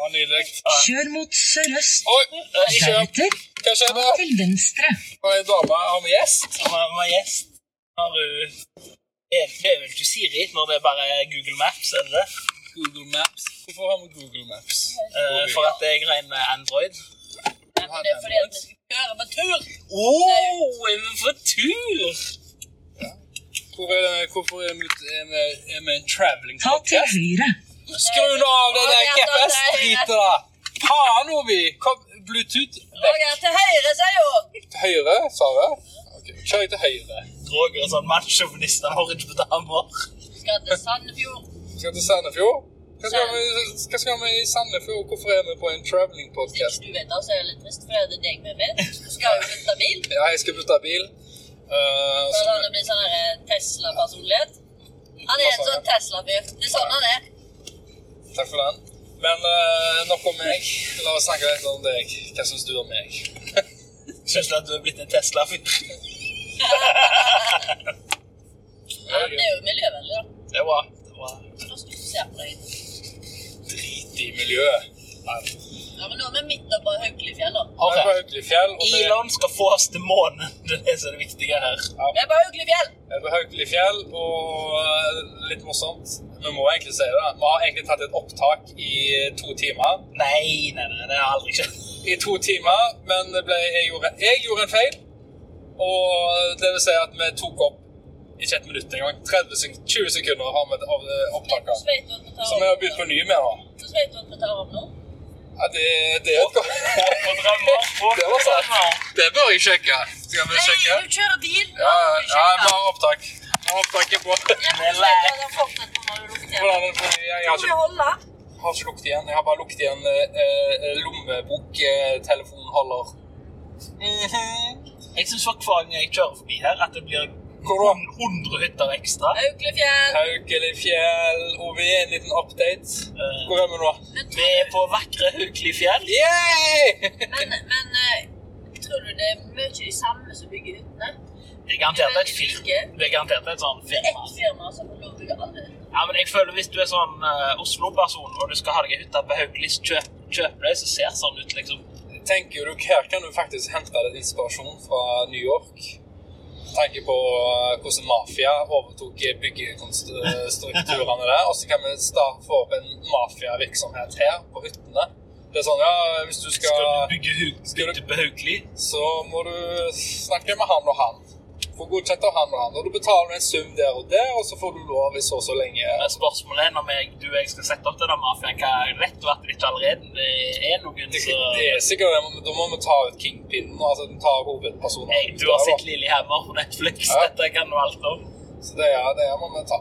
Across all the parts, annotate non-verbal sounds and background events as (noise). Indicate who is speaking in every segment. Speaker 1: Oi.
Speaker 2: Kjør mot sørøst.
Speaker 1: Oi, jeg kjører.
Speaker 2: Deretter
Speaker 1: Hva skjedde?
Speaker 2: til venstre.
Speaker 1: Var det en dame av gjest?
Speaker 3: Han var- han var gjest. Har du er, det er vel til Siri når det er bare Google Maps, er det det?
Speaker 1: Google Maps. Hvorfor har vi Google Maps?
Speaker 3: Eh, for at jeg regner med Android.
Speaker 4: Nei, men det er fordi at vi skal kjøre på tur.
Speaker 3: Å, er vi på tur?
Speaker 1: Hvor er det, hvorfor er vi, er vi, er vi en traveling
Speaker 2: Ta til
Speaker 1: podcast?
Speaker 2: høyre.
Speaker 1: Skru nå av den der
Speaker 4: Roger, ta til
Speaker 1: GPS-driten, da! Faen, Ovi! Kom, Bluetooth vekk.
Speaker 4: Roger, til høyre, sier hun.
Speaker 1: Til høyre, sa jeg. Ok, Kjør jeg til høyre.
Speaker 3: Roger er sånn mannssjåvinist, han har ikke på damer.
Speaker 4: Skal til Sandefjord.
Speaker 1: Skal til Sandefjord? Hva skal, vi, hva skal vi i Sandefjord? Hvorfor er vi på en traveling
Speaker 4: Hvis
Speaker 1: podcast?
Speaker 4: du vet det, så er jeg litt trist, for det er deg med meg. Du skal jo bytte bil.
Speaker 1: Ja, jeg skal bytte bil. Eh,
Speaker 4: Så da
Speaker 1: så,
Speaker 4: det blir sånn her, eh, Tesla-personlighet. Han er en sånn Tesla-fyr. Det er sånn han er.
Speaker 1: takk for den. Men eh, nok om meg. La oss snakke litt om deg. Hva syns du om meg?
Speaker 3: Syns du at du er blitt en Tesla-fyr?
Speaker 4: Ja, men det er jo miljøvennlig, da.
Speaker 3: Det er bra. Det er bra.
Speaker 4: Hvordan skal du se på deg?
Speaker 1: Drit i miljøet.
Speaker 4: Ja, men nå er vi midt oppe på Haukelifjell, da.
Speaker 1: Vi er på Haukelifjell, og vi
Speaker 3: Elon skal få oss til månen. Det er det som er det viktige her.
Speaker 4: Vi er på Haukelifjell!
Speaker 1: er på Haukelifjell, og eh, litt morsomt. Vi må egentlig si det. da. Vi har egentlig tatt et opptak i to timer.
Speaker 3: Nei, nei, nei, det har aldri skjedd.
Speaker 1: i to timer, men det ble, jeg, gjorde, jeg gjorde en feil. Og det vil si at vi tok opp ikke et minutt engang. 30 sek 20 sekunder har vi av eh,
Speaker 4: Hvordan
Speaker 1: opptaket.
Speaker 4: vet du at vi tar
Speaker 1: Så vi har begynt på ny med nå.
Speaker 4: Hvordan vet du at vi tar opp nå?
Speaker 1: Ja, det, det, er et godt-
Speaker 3: På drømmer, på
Speaker 1: det var sant.
Speaker 3: drømmer.
Speaker 1: Det bør jeg sjekke. Skal vi sjekke?
Speaker 4: Nei, du kjører bil!
Speaker 1: Ja, ja, ja, vi har opptak. Vi har opptaket på. Hvordan er det? Jeg har ikke, har ikke lukket igjen. Jeg har bare lukket igjen eh, lommebok-telefonholder.
Speaker 3: Mhm. Jeg syns hver gang jeg kjører forbi her, at det blir
Speaker 1: Hvor da?
Speaker 3: 100 hytter ekstra.
Speaker 4: Auklefjell!
Speaker 1: Haukelifjell, OV, en liten update.
Speaker 3: Eh.
Speaker 1: Hvor er vi nå?
Speaker 3: Vi er på vakre Haukelifjell.
Speaker 1: Yay! (laughs)
Speaker 4: Men, men eh, tror du det er mye de samme som bygger hyttene?
Speaker 3: Det er garantert et film. Det er garantert et sånn
Speaker 4: Det er
Speaker 3: firma.
Speaker 4: ett firma som får lov å bygge alle hyttene.
Speaker 3: Ja, men jeg føler Hvis du er sånn eh, Oslo-person og du skal ha deg en hytte på Haukeli, så kjøp, kjøp deg som ser sånn ut, liksom.
Speaker 1: Tenker du, Her kan du faktisk hente litt inspirasjon fra New York. Med tanke på eh, hvordan mafia overtok byggestrukturene der. Og så kan vi starte få opp en mafiavirksomhet her, på hyttene. Det er sånn, ja, Hvis du
Speaker 3: Skal du
Speaker 1: skal
Speaker 3: bygge hu-
Speaker 1: skal du-
Speaker 3: hytte på Haukeli?
Speaker 1: Så må du snakke med han og han. Få godkjent av han og han. Og du betaler en sum der og der, og så får du lov i så og så lenge.
Speaker 3: Men Spørsmålet er når jeg, du og jeg skal sette opp til den mafiaen, hva vet du at det ikke allerede er noen
Speaker 1: Det,
Speaker 3: som
Speaker 1: det er sikkert det, men da må vi ta ut kingpinnen. Altså, den tar hovedpersonen.
Speaker 3: Hey, Du har sett Lillehammer på Netflix,
Speaker 1: Ja.
Speaker 3: dette kan du alt om.
Speaker 1: Så det er det må vi ta.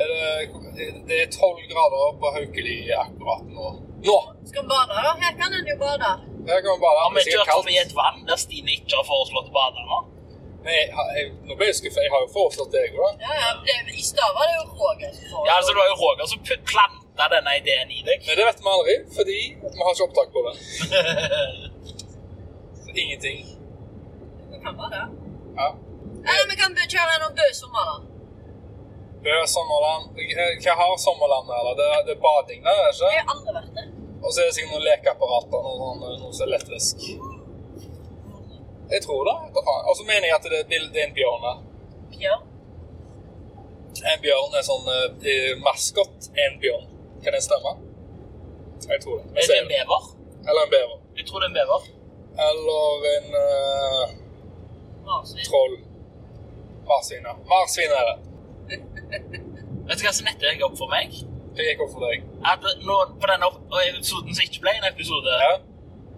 Speaker 1: Er Det det er tolv grader på Haukeli akkurat nå. Nå!
Speaker 4: Skal vi bade? da? Her kan en jo bade.
Speaker 1: Her kan vi bare
Speaker 3: Har vi
Speaker 1: det er sikkert
Speaker 3: kjørt
Speaker 1: kaldt.
Speaker 3: forbi et vann der Stine ikke har foreslått å bade nå?
Speaker 1: Nei, jeg, jeg, nå ble jeg skuffet. Jeg har jo foreslått deg òg.
Speaker 4: Ja, ja, det, I stad var det jo Roger som får
Speaker 3: Ja, altså Det var jo Roger som pu- planta denne ideen i
Speaker 1: (laughs)
Speaker 3: deg.
Speaker 1: Men det vet vi aldri, fordi vi har ikke opptak på det. Så ingenting.
Speaker 4: Vi kan bade.
Speaker 1: Ja.
Speaker 4: Eller vi kan kjøre gjennom Bø sommer, da.
Speaker 1: Bø, Sommerland Hva har Sommerland, eller? Det, er- det er bading der, er det
Speaker 4: Jeg
Speaker 1: ikke?
Speaker 4: har aldri vært der.
Speaker 1: Og så er det sikkert noen lekeapparater, noe sånn, noe som er elektrisk. Jeg tror det. vet du faen. Og så mener jeg at det, er bil- det er en bjørn der.
Speaker 4: Bjørn.
Speaker 1: En bjørn er sånn uh, maskott. En bjørn. Kan det stemme? Jeg tror det. Jeg
Speaker 3: Er det
Speaker 1: ser
Speaker 3: en
Speaker 1: det.
Speaker 3: bever?
Speaker 1: Eller en bever.
Speaker 3: Jeg tror det er en bever.
Speaker 1: Eller en eh,
Speaker 4: Marsvin.
Speaker 1: troll. Marsvin, ja. Marsvin er det.
Speaker 3: Vet du hva som netter jeg opp for meg?
Speaker 1: Det gikk opp for deg.
Speaker 3: At nå, på denne opp- episoden som ikke ble en episode,
Speaker 1: Ja.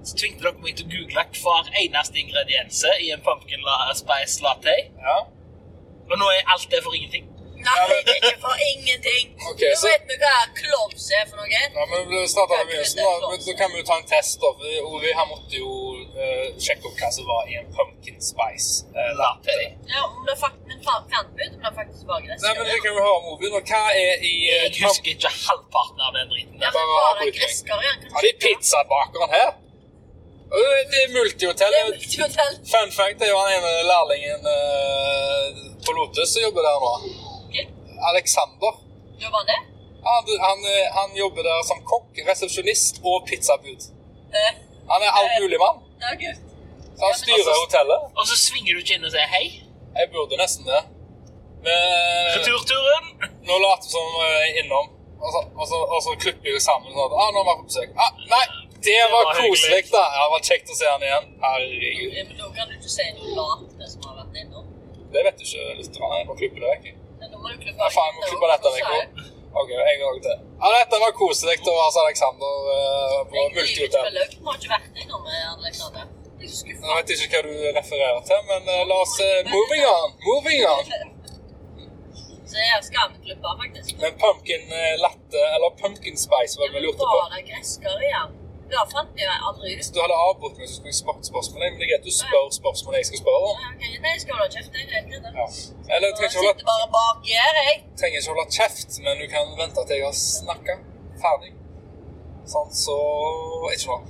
Speaker 3: så tvingte dere meg til å google hver eneste ingrediense i en pumpkin la spice latte.
Speaker 1: ja.
Speaker 3: Og nå er alt det for ingenting.
Speaker 4: Nei, det er ikke for ingenting.
Speaker 1: Ok,
Speaker 4: Nå
Speaker 1: så-
Speaker 4: vet vi hva klovs er for noe.
Speaker 1: ja men vi starter med begynnelsen. da. Men Så kan vi jo ta en test. da. For Ovi han måtte jo eh, sjekke opp hva som var i en pumpkin spice eh, latte.
Speaker 4: Ja, om det faktisk, men fa- fant vi ut om det faktisk var
Speaker 1: Nei, men
Speaker 4: gresskar?
Speaker 1: Det kan vi høre om Ovi. nå. Hva er i eh,
Speaker 3: Jeg husker ikke halvparten av den driten
Speaker 4: Ja,
Speaker 3: der.
Speaker 4: men
Speaker 1: Bare
Speaker 4: var det
Speaker 1: avbryt meg.
Speaker 4: gresskar igjen? Kan du
Speaker 1: Har de
Speaker 4: sjekke?
Speaker 1: pizzabakeren her? Øh, Det er multihotell.
Speaker 4: Det
Speaker 1: det
Speaker 4: er
Speaker 1: er
Speaker 4: jo
Speaker 1: jo-
Speaker 4: ikke hotell.
Speaker 1: Fun fact det er jo han ene lærlingen eh, på Lotus som jobber der nå.
Speaker 4: Ok,
Speaker 1: Alexander.
Speaker 4: Jobber han det?
Speaker 1: Han, han, eh, han jobber der som kokk, resepsjonist og pizzabud.
Speaker 4: Eh,
Speaker 1: Han er alt mulig mann.
Speaker 4: det er kult.
Speaker 1: Så han styrer hotellet.
Speaker 3: Og så svinger du ikke inn og sier hei.
Speaker 1: Jeg burde nesten det. Men
Speaker 3: Returturen!
Speaker 1: nå later vi som eh, jeg er innom, og så, og så, og så klipper vi sammen sånn at ah, nå var jeg på besøk. Ah, nei, det var
Speaker 3: var
Speaker 1: koselig,
Speaker 3: hyggelig.
Speaker 1: da. Ja, det var kjekt å se han igjen. Herregud.
Speaker 4: Ja, men Da kan du ikke si noe lat det som har vært innom.
Speaker 1: Det vet du ikke litt om. Jeg må klippe det vekk. jeg.
Speaker 4: Men nå må du klippe
Speaker 1: Nei, faen, jeg må klippe dette vekk også. OK, en gang til. Ja, dette var koselig å være hos Aleksander eh, på multihotell.
Speaker 4: Løk må ikke vært innom med Alexander. Jeg er så
Speaker 1: Jeg
Speaker 4: skuffet.
Speaker 1: vet ikke hva du refererer til, men eh, la oss eh, Moving on! Moving on!
Speaker 4: (laughs) Så jeg skal ammeklippe, faktisk.
Speaker 1: Men pumpkin eh, latte, eller pumpkin spice, var det vi lurte på.
Speaker 4: Var det gresskar igjen? Da fant jeg aldri
Speaker 1: Hvis
Speaker 4: ut.
Speaker 1: du hadde avbrutt meg, så skulle jeg spurt spørsmålet. Men det er greit du spør spørsmålet jeg skal spørre om.
Speaker 4: Nei, ok, Nei, jeg skal holde kjeft. Jeg vet ikke
Speaker 1: Ja.
Speaker 4: det.
Speaker 1: Eller
Speaker 4: Jeg
Speaker 1: trenger ikke, holde,
Speaker 4: sitter bare bak her, jeg.
Speaker 1: trenger ikke holde kjeft, men du kan vente til jeg har snakka ferdig. Sånn, så Ikke noe.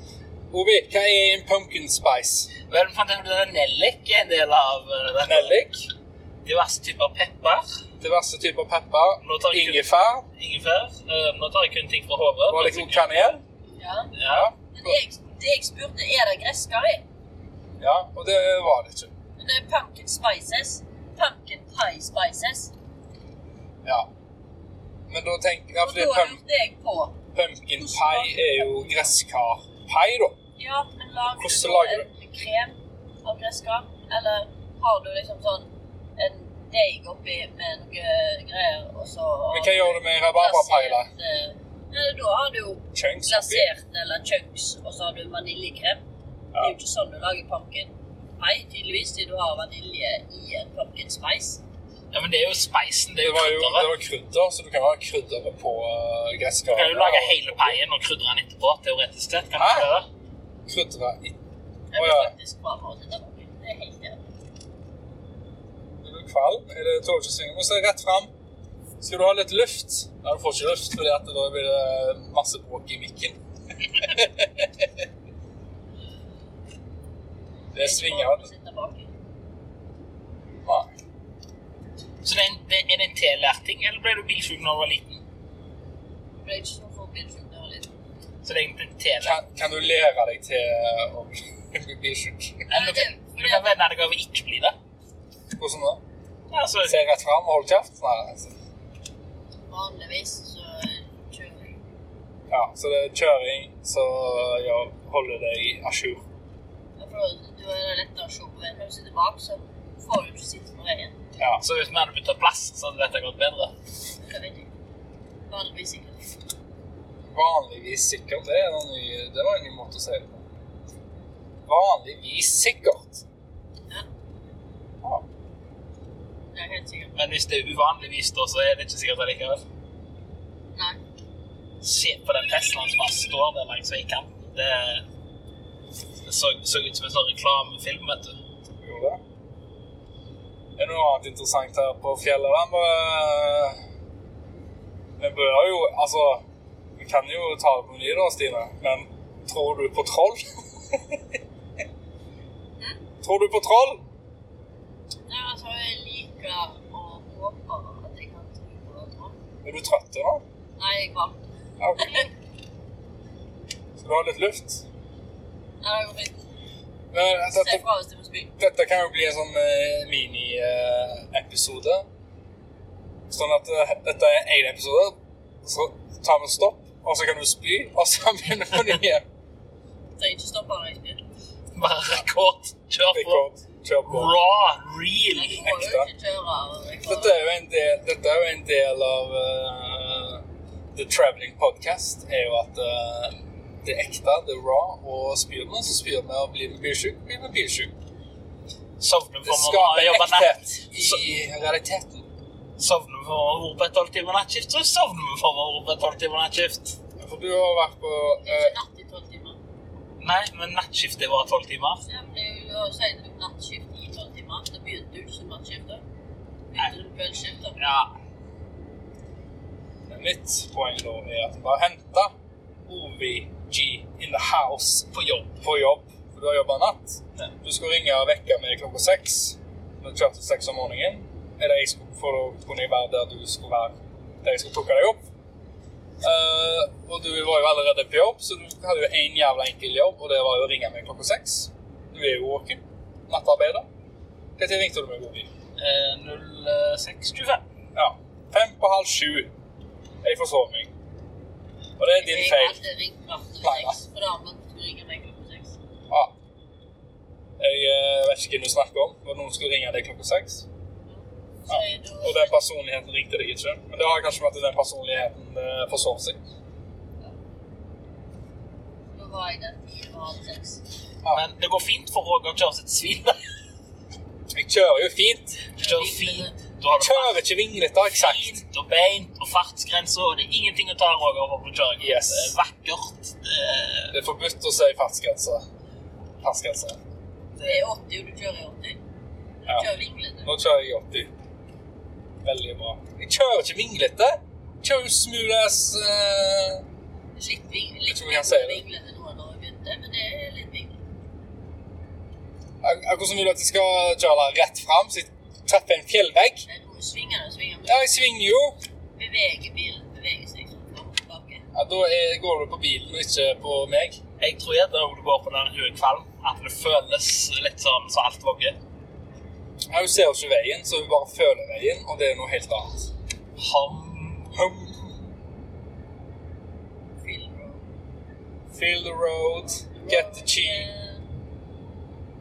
Speaker 1: Ovi, hva er en pumpkin spice?
Speaker 3: Vel, fant jeg ut at nellik er en del av eh, dette.
Speaker 1: Nellik,
Speaker 3: Diverse typer pepper.
Speaker 1: diverse typer
Speaker 3: Nå tar
Speaker 1: pepper,
Speaker 3: jeg kun-
Speaker 1: ingefær
Speaker 3: Ingefær. Eh, nå tar jeg kun ting fra hodet.
Speaker 1: og litt kanel.
Speaker 4: Ja.
Speaker 3: Ja.
Speaker 4: Men det jeg, det jeg spurte, er det gresskar i?
Speaker 1: Ja, og det var det ikke.
Speaker 4: Men det er pumpkin spices. Pumpkin pie spices.
Speaker 1: Ja. Men da tenker jeg
Speaker 4: Og
Speaker 1: fordi
Speaker 4: da
Speaker 1: pum,
Speaker 4: lurte jeg på
Speaker 1: pumpkin pie er jo gresskarpai, da.
Speaker 4: Ja, men lager
Speaker 1: Hvordan
Speaker 4: du
Speaker 1: lager
Speaker 4: en krem av gresskar? Eller har du liksom sånn en deig oppi med noe greier, og så
Speaker 1: Men hva gjør du med rabarbrapai? da?
Speaker 4: Glasert, eh, nei, Da har du jo
Speaker 1: Chunks? oppi?
Speaker 4: glasert eller chunks, og så har du vaniljekrem. Det er jo ikke sånn du lager pumpkin pie, tydeligvis, siden du har vanilje i en pumpkin spice.
Speaker 3: ja, men det er jo speisen. Det er
Speaker 1: Det
Speaker 3: jo
Speaker 1: var jo det
Speaker 3: krydderet.
Speaker 1: var krydder, så du kan ha krydderet på uh,
Speaker 3: Du
Speaker 1: gresskar.
Speaker 3: kan jo lage hele paien og krydre den etterpå, teoretisk sett. Kan du
Speaker 1: Hæ?
Speaker 3: ikke det?
Speaker 1: Krydderet i
Speaker 4: Det
Speaker 1: Å
Speaker 4: er
Speaker 1: ja.
Speaker 4: faktisk bra med å sitte på. Det er helt enig.
Speaker 1: Er du kvalm? Er det tåkesvingen? Må se rett fram. Skal du ha litt luft? Nei, du får ikke luft, fordi at da blir det masse bråk i mikken. det svinger.
Speaker 4: Å sitte bak.
Speaker 1: Nei.
Speaker 3: Så det er en, det er en tillært ting, eller ble du bilsjuk da du var liten?
Speaker 4: Det ble ikke så forbilledlig. det var litt-
Speaker 3: Så det er egentlig en tillært.
Speaker 1: Kan, kan du lære deg til å bli sjuk?
Speaker 3: Eller du kan, du kan vende deg over ikke bli det.
Speaker 1: Hvordan da?
Speaker 3: Altså,
Speaker 1: Se rett fram og hold kjeft? Nei. altså.
Speaker 4: Vanligvis så kjører jeg.
Speaker 1: Ja, så det er kjøring så ja, holder deg à jour.
Speaker 4: Jeg tror Du er lettere å se på veien. Når du sitter bak, så får du ikke sitte på veien.
Speaker 1: Ja.
Speaker 3: så hvis vi hadde byttet plass, så hadde dette gått bedre.
Speaker 4: Det vet jeg. Vanligvis ikke.
Speaker 1: Vanligvis sikkert. Det, er en ny, det var en ny måte å si det på. Vanligvis sikkert.
Speaker 4: Ja,
Speaker 1: Ja.
Speaker 4: det er helt sikkert.
Speaker 3: Men hvis det er uvanligvis da, så er det ikke sikkert allikevel.
Speaker 4: Nei.
Speaker 3: Se på den Teslaen som bare står der langs veikanten. Det, det så, så ut som en sånn reklamefilm, vet du.
Speaker 1: Gjorde det. Er det noe annet interessant her på fjellet? da? Vi, vi bør jo Altså, vi kan jo ta det på ny da, Stine, men tror du på troll? (laughs) tror du på troll?
Speaker 4: Nei, altså, jeg liker å håpe at jeg kan tro på det. nå.
Speaker 1: Er du trøtt nå?
Speaker 4: Nei, jeg var.
Speaker 1: Ja, ok. Skal du ha litt luft?
Speaker 4: Nei, jeg går fint.
Speaker 1: Men, eh,
Speaker 4: Se
Speaker 1: dette,
Speaker 4: fra hvis du må spy.
Speaker 1: dette kan jo bli en sånn eh, mini-episode. sånn at eh, dette er en episode, så tar vi en stopp, og så kan du spy, og så (laughs) begynner vi på ny igjen.
Speaker 4: Trenger ikke stoppe når jeg spyr.
Speaker 3: Bare rekord. Kjør på.
Speaker 1: Rekord. Kjør på.
Speaker 3: Raw. Real.
Speaker 4: Jeg må jo
Speaker 1: Ekte.
Speaker 4: ikke kjøre. og jeg får-
Speaker 1: Dette er jo en del, dette er jo en del av eh, The Traveling Podcast, er jo at eh, det er ekte, det er raw, og spyr vi, så spyr vi, og blir vi bilsjuk, blir vi bilsjuk.
Speaker 3: Sovner
Speaker 1: Det
Speaker 3: for
Speaker 1: skaper
Speaker 3: å jobbe natt.
Speaker 1: ekthet i realiteten.
Speaker 3: Sovner vi for å være på et tolv timer nattskift, så sovner vi for å være på et tolv timer nattskift.
Speaker 1: For du har vært på
Speaker 4: Ikke
Speaker 1: eh,
Speaker 4: natt i tolv timer.
Speaker 3: Nei, men nattskiftet var tolv timer.
Speaker 4: Ja, men det er jo å si det er nattskift i tolv timer. Da begynte du ikke som nattskift, da. Begynte du på kveldsskift, da.
Speaker 3: Ja.
Speaker 1: Mitt poeng da er at du har henta OVG in the house
Speaker 3: På jobb.
Speaker 1: på jobb. For du har jobba natt.
Speaker 3: Ja.
Speaker 1: Du skulle ringe og vekke meg klokka seks. Men du kjørte seks om morgenen. Eller jeg skulle, for da kunne jeg være der du skulle være. Der jeg skulle plukke deg opp. Eh, og du var jo allerede på jobb, så du hadde jo én jævla enkel jobb, og det var jo å ringe meg klokka seks. Du er jo våken. Nattarbeider. Når ringte du meg, Bobi?
Speaker 3: Eh, 0625.
Speaker 1: Ja. Fem på halv sju. Jeg forsov meg. Og det er din feil.
Speaker 4: Jeg hadde ringt fram til
Speaker 1: Nei,
Speaker 4: seks, for da hadde man skulle ringe meg klokka seks.
Speaker 1: Ja. Jeg eh, vet ikke hvem du snakker om, når noen skulle ringe deg klokka seks.
Speaker 4: Så jeg,
Speaker 1: Og
Speaker 4: da,
Speaker 1: den personligheten ringte deg ikke. Men det har kanskje vært at den personligheten eh, forsov seg.
Speaker 4: da var jeg den ti på halv seks.
Speaker 1: Ja.
Speaker 3: Men det går fint for Roger å kjøre sitt svin.
Speaker 1: Jeg kjører jo fint.
Speaker 3: Kjører fint. Du har det
Speaker 1: Kjører ikke vinglete, har jeg sagt.
Speaker 3: fint og beint og fartsgrenser, og det er ingenting å ta Roger over på kjøring.
Speaker 1: Yes.
Speaker 3: Det er vakkert. Eh, Det er,
Speaker 1: Det er forbudt å si fartsgrense. Fartsgrense.
Speaker 4: Det er 80, og du kjører i 80. Du
Speaker 1: Ja.
Speaker 4: kjører vinglete.
Speaker 1: Nå kjører jeg 80. Veldig bra. Jeg kjører ikke vinglete. Jeg Kjører jo smooth as eh,
Speaker 4: Litt, ving,
Speaker 1: Jeg
Speaker 4: litt
Speaker 1: tror vi kan si
Speaker 4: mindre
Speaker 1: det.
Speaker 4: vinglete nå enn da jeg begynte, men det er litt vinglete.
Speaker 1: ak- Akkurat som vil du at jeg skal kjøre rett fram, så jeg treffer en fjellvegg.
Speaker 4: Det er noe svinger og svinger.
Speaker 1: Ja, jeg svinger jo.
Speaker 4: men Beveger bilen, beveger seg sånn fram og tilbake.
Speaker 1: Ja, da er, går du på bilen og ikke på meg.
Speaker 3: jeg tror jeg når du går på den hun er kvalm, at det føles litt sånn som alt vogger.
Speaker 1: Ja, Hun ser jo ikke veien, så hun bare føler veien, og det er noe helt annet.
Speaker 3: Ham.
Speaker 1: Hum.
Speaker 4: Feel the road.
Speaker 1: Feel the road, get the cheese.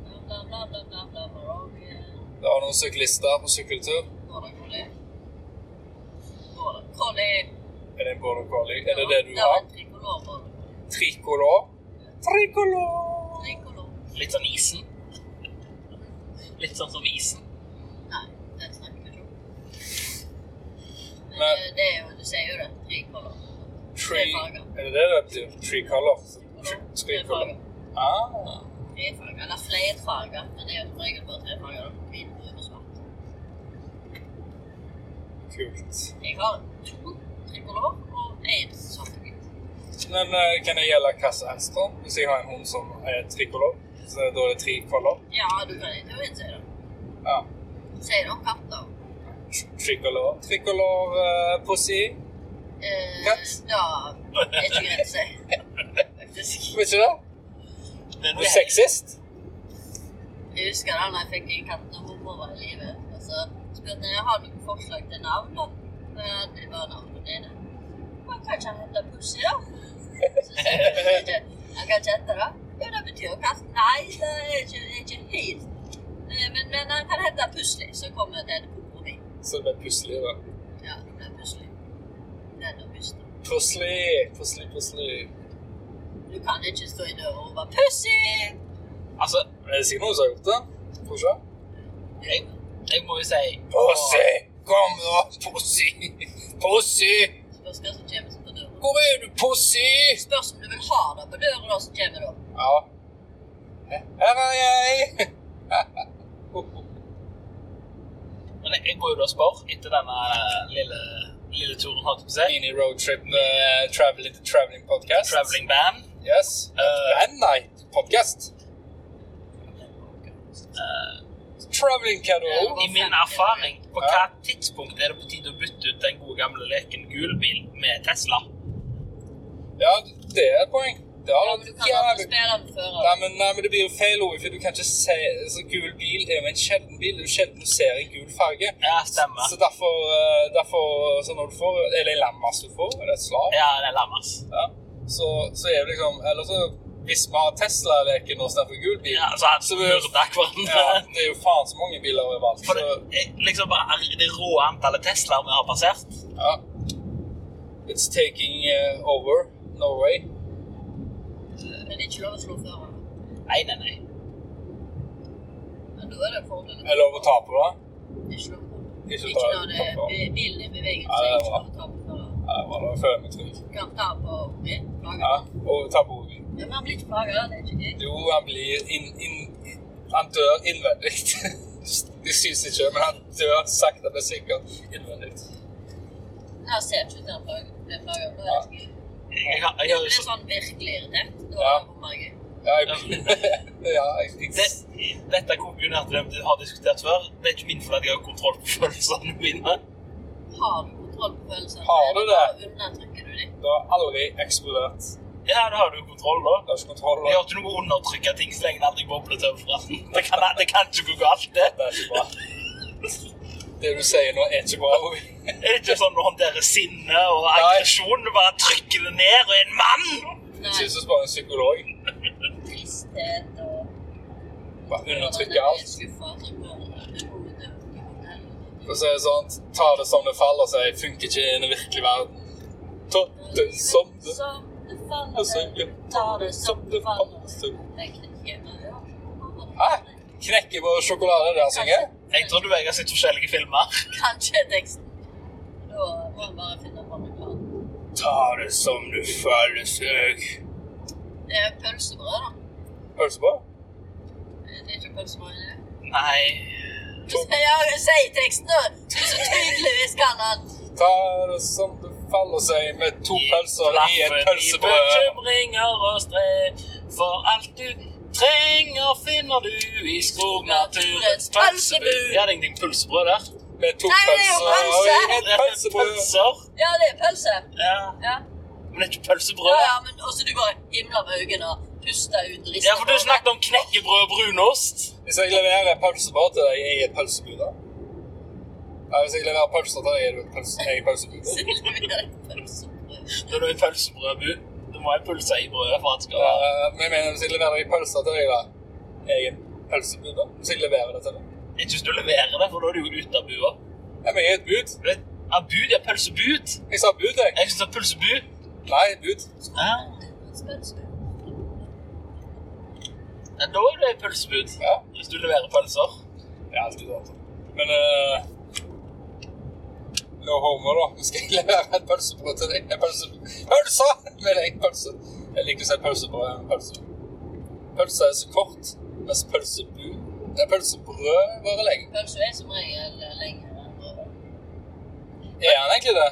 Speaker 4: Eh, Bla, bla, bla, bla, bla, bla, road, yeah.
Speaker 1: Det var noen syklister på sykkeltur.
Speaker 4: Border collie. Border collie.
Speaker 1: Er det en border collie? Er det
Speaker 4: Ja,
Speaker 1: det du har?
Speaker 4: en tricolor border collie.
Speaker 1: Tricolor. Tricolor!
Speaker 4: Tricolor.
Speaker 3: Litt sånn isen. Litt sånn som isen.
Speaker 4: Nei, den snakker vi ikke om. Men
Speaker 1: Nei.
Speaker 4: eh, det er jo, du sier jo det. Tricolor.
Speaker 1: Tree,
Speaker 4: Tre farger.
Speaker 1: er det det det betyr? Tree color? Tre- Tree
Speaker 4: Tre
Speaker 1: color.
Speaker 4: farger.
Speaker 1: Ah,
Speaker 4: Tre farger, eller flere farger. Men det er jo som regel bare tre farger. da. Hvit, brun og svart.
Speaker 1: kult.
Speaker 4: Jeg har to tricolor og én svart og hvit.
Speaker 1: Men eh, kan det gjelde hva som helst da? Hvis jeg har en hund som er tricolor, så da er det tricolor?
Speaker 4: Ja, du kan i teorien si det.
Speaker 1: Ja.
Speaker 4: Sier det om katter.
Speaker 1: Tr- Tricolor. Tricolor eh, pussy.
Speaker 4: Eh,
Speaker 1: Katt?
Speaker 4: da er det ikke greit å si.
Speaker 1: (laughs)
Speaker 4: Faktisk.
Speaker 1: Vet ikke det?
Speaker 3: Det er
Speaker 1: Du er
Speaker 3: noe
Speaker 1: sexist?
Speaker 4: Jeg husker da når jeg fikk en katt når mormor var i live. Og så spurte jeg har du noen forslag til navn. da? Og jeg hadde bare navn på dine. Han kan ikke han hete Pussy, da? Så sier jeg, «Kan ikke- Han kan ikke hete det? Jo, det betyr jo katt. Nei, det er ikke, det er ikke helt Eh, men, men han kan hete Pussy, så kommer jeg til et kompromiss.
Speaker 1: Så det blir pusselig da.
Speaker 4: Ja, det blir Pussy. Den og Pussy.
Speaker 1: Pusselig, pusselig, pusselig.
Speaker 4: Du kan ikke stå i døra og være Pussy!
Speaker 3: Altså,
Speaker 1: Er det sikkert noen som har gjort det? Får ikke?
Speaker 3: jeg, jeg må jo si
Speaker 1: Pussy! Kom da, pussy! Pussy!
Speaker 4: Spørs hva som kommer på døra.
Speaker 1: Hvor er du, pussy?
Speaker 4: Spørs om du vil ha det på døra, da, som kommer da.
Speaker 1: Ja. Her er jeg!
Speaker 3: Men jeg, jeg går jo da og spør etter denne lille, lille turen, holdt jeg på å si.
Speaker 1: (laughs) Mini roadtrip med Traveling to Traveling podcast.
Speaker 3: Traveling band.
Speaker 1: Yes. Uh,
Speaker 3: Eh.
Speaker 1: Band, nei. Podcast. Uh, Traveling Cadol.
Speaker 4: Ja.
Speaker 3: I min erfaring, på hva tidspunkt er det på tide å bytte ut den gode gamle leken gul bil med Tesla?
Speaker 1: Ja, det er et poeng. Det
Speaker 4: Ja,
Speaker 1: har
Speaker 4: men du
Speaker 1: vært
Speaker 4: kan
Speaker 1: jævlig...
Speaker 4: aldri spille den før.
Speaker 1: Nei men, nei, men det blir jo feil ord, for du kan ikke se altså, Gul bil er jo en sjelden bil. Det er jo sjelden du ser en gul farge.
Speaker 3: Ja, stemmer.
Speaker 1: Så derfor, eh, derfor så når du får Er det en lammas du får? Er det et slag?
Speaker 3: Ja, det er Lamas.
Speaker 1: Ja. Så, så er det liksom Eller så hvis vi har Tesla-leken nå istedenfor gul bil
Speaker 3: Ja, så hadde
Speaker 1: Så
Speaker 3: vi
Speaker 1: vi-
Speaker 3: myrda
Speaker 1: Ja,
Speaker 3: hverandre.
Speaker 1: det er jo faen så mange biler overalt.
Speaker 3: For
Speaker 1: Så,
Speaker 3: det, er liksom bare er det rå antallet Teslaer vi har passert.
Speaker 1: ja. It's taking eh, over Norway.
Speaker 4: Men det er ikke lov å slå før. da.
Speaker 3: Nei, nei, nei.
Speaker 4: Men da er det fordelen.
Speaker 1: Er det lov å ta på det?
Speaker 4: Det er Ikke lov å ta.
Speaker 1: Ikke
Speaker 4: Ikke
Speaker 1: ta-
Speaker 4: når det
Speaker 1: ta på.
Speaker 4: er bilen i bevegelse.
Speaker 1: Ja, det er
Speaker 4: ikke
Speaker 1: bra.
Speaker 4: lov å ta på før.
Speaker 1: Ja, det var det før vi tror.
Speaker 4: Du kan ta på ungen. plage
Speaker 1: Ja,
Speaker 4: den.
Speaker 1: og ta på hodet.
Speaker 4: Ja, Men han blir ikke plaga, det er ikke gøy.
Speaker 1: Jo, han blir inn... inn han dør innvendig. (laughs) Det syns ikke, men han dør sakte, men sikkert innvendig.
Speaker 4: Han ser ikke ut til han plager- blir plaga. Det er ikke gøy.
Speaker 3: Jeg, har- jeg,
Speaker 4: Du
Speaker 3: har jo
Speaker 4: blir
Speaker 3: så-
Speaker 4: sånn virkelig irritert. Da
Speaker 1: Ja.
Speaker 4: er det bare gøy.
Speaker 1: Ja, jeg, (laughs) ja, jeg,
Speaker 3: det,
Speaker 1: jeg,
Speaker 3: dette koker jo ned til dem du har diskutert før. Det er ikke min feil at jeg har kontroll på følelsene mine.
Speaker 4: Har du kontroll på følelsene?
Speaker 1: Har du det?
Speaker 4: Undertrykker du mulig.
Speaker 1: Det har aldri eksplodert.
Speaker 3: Ja, da har du kontroll, da.
Speaker 1: Det er ikke kontroll.
Speaker 3: Vi har ikke noe undertrykka ting så lenge det aldri bobler til overflaten. Det kan, det kan ikke gå galt, det.
Speaker 1: Det er ikke bra. Det du sier nå, er ikke bra. Louis.
Speaker 3: Er det ikke sånn du håndterer sinne og aggresjon? Du bare trykker det ned og er en mann!
Speaker 4: Nei,
Speaker 1: Jesus var en psykolog.
Speaker 4: tristhet og
Speaker 1: Bare undertrykker alt.
Speaker 4: Skuffa, så går det- det går ut over de vonde helgene.
Speaker 1: For å si det sånn, ta det som det faller seg, funker ikke i den virkelige verden. Ta det som det
Speaker 4: Som det
Speaker 1: faller seg,
Speaker 4: faller, ta det som det faller.
Speaker 1: seg.
Speaker 4: Jeg kan ikke gjøre det.
Speaker 1: Hæ? Knekke på sjokolade altså der, synger?
Speaker 3: Jeg tror du og jeg har sett forskjellige filmer.
Speaker 4: Kanskje teksten. Da må han bare finne på noe annet.
Speaker 1: Ta det som det faller seg.
Speaker 4: Det er pølsebrød, da.
Speaker 1: Pølse på?
Speaker 4: Det er ikke pølsebrød i det.
Speaker 3: Nei
Speaker 4: Du sier, ja, du sier teksten, da. Du så tydeligvis kan han.
Speaker 1: Ta det som det faller seg, med to pølser i et
Speaker 3: Laffen
Speaker 1: pølsebrød.
Speaker 3: bekymringer og strev, for alt du trenger finner du i skognaturens pølsebu. Ja, det er ingenting pølsebrød der.
Speaker 1: Med to
Speaker 4: Nei, det er jo
Speaker 1: pølser i
Speaker 4: pølse.
Speaker 1: et
Speaker 3: Det er
Speaker 1: pølsebrød.
Speaker 3: pølser.
Speaker 4: Ja, det er pølse.
Speaker 3: Ja,
Speaker 4: Ja,
Speaker 3: men det er ikke
Speaker 4: ja,
Speaker 3: pølsebrød.
Speaker 4: ja men også du bare himler med øynene og puster ut og rister.
Speaker 3: Ja, for du
Speaker 4: på
Speaker 3: snakket om knekkebrød og brunost.
Speaker 1: Hvis jeg leverer pølsebrød til deg, er jeg et pølsebud da? Nei, hvis jeg leverer pølser til deg, er du et pølse, er jeg pølsebud da?
Speaker 4: det. (laughs) Så
Speaker 3: Da er du
Speaker 4: blir det pølsebrød.
Speaker 3: i pølsebrødbu. Du må ha pølse i brødet for at det skal
Speaker 1: Ja,
Speaker 3: være
Speaker 1: men jeg mener, hvis jeg leverer deg pølser til deg, da, er jeg en pølsebud da? Hvis jeg leverer det til deg?
Speaker 3: Ikke hvis du leverer det, for da er du jo ute av bua.
Speaker 1: Ja, men jeg er et bud.
Speaker 3: Du vet, Ja, bud ja, pølsebud.
Speaker 1: Jeg sa bud, jeg.
Speaker 3: Jeg synes det er pølsebu.
Speaker 1: Nei, bud.
Speaker 3: Ja, ja, da er det pølsebud.
Speaker 1: Ja,
Speaker 3: Hvis du leverer pølser.
Speaker 1: det er alltid sånn. Men, eh, no homo da. Skal jeg levere et pølsebrød til deg? En pølse... Pølse! Men jeg pølse. Jeg liker å si pølsebrød enn pølse. Pølse er så kort, mens pølsebud... Det er pølsebrød bare lenge.
Speaker 4: Pølse er som regel lenger enn brød.
Speaker 1: Er han egentlig det?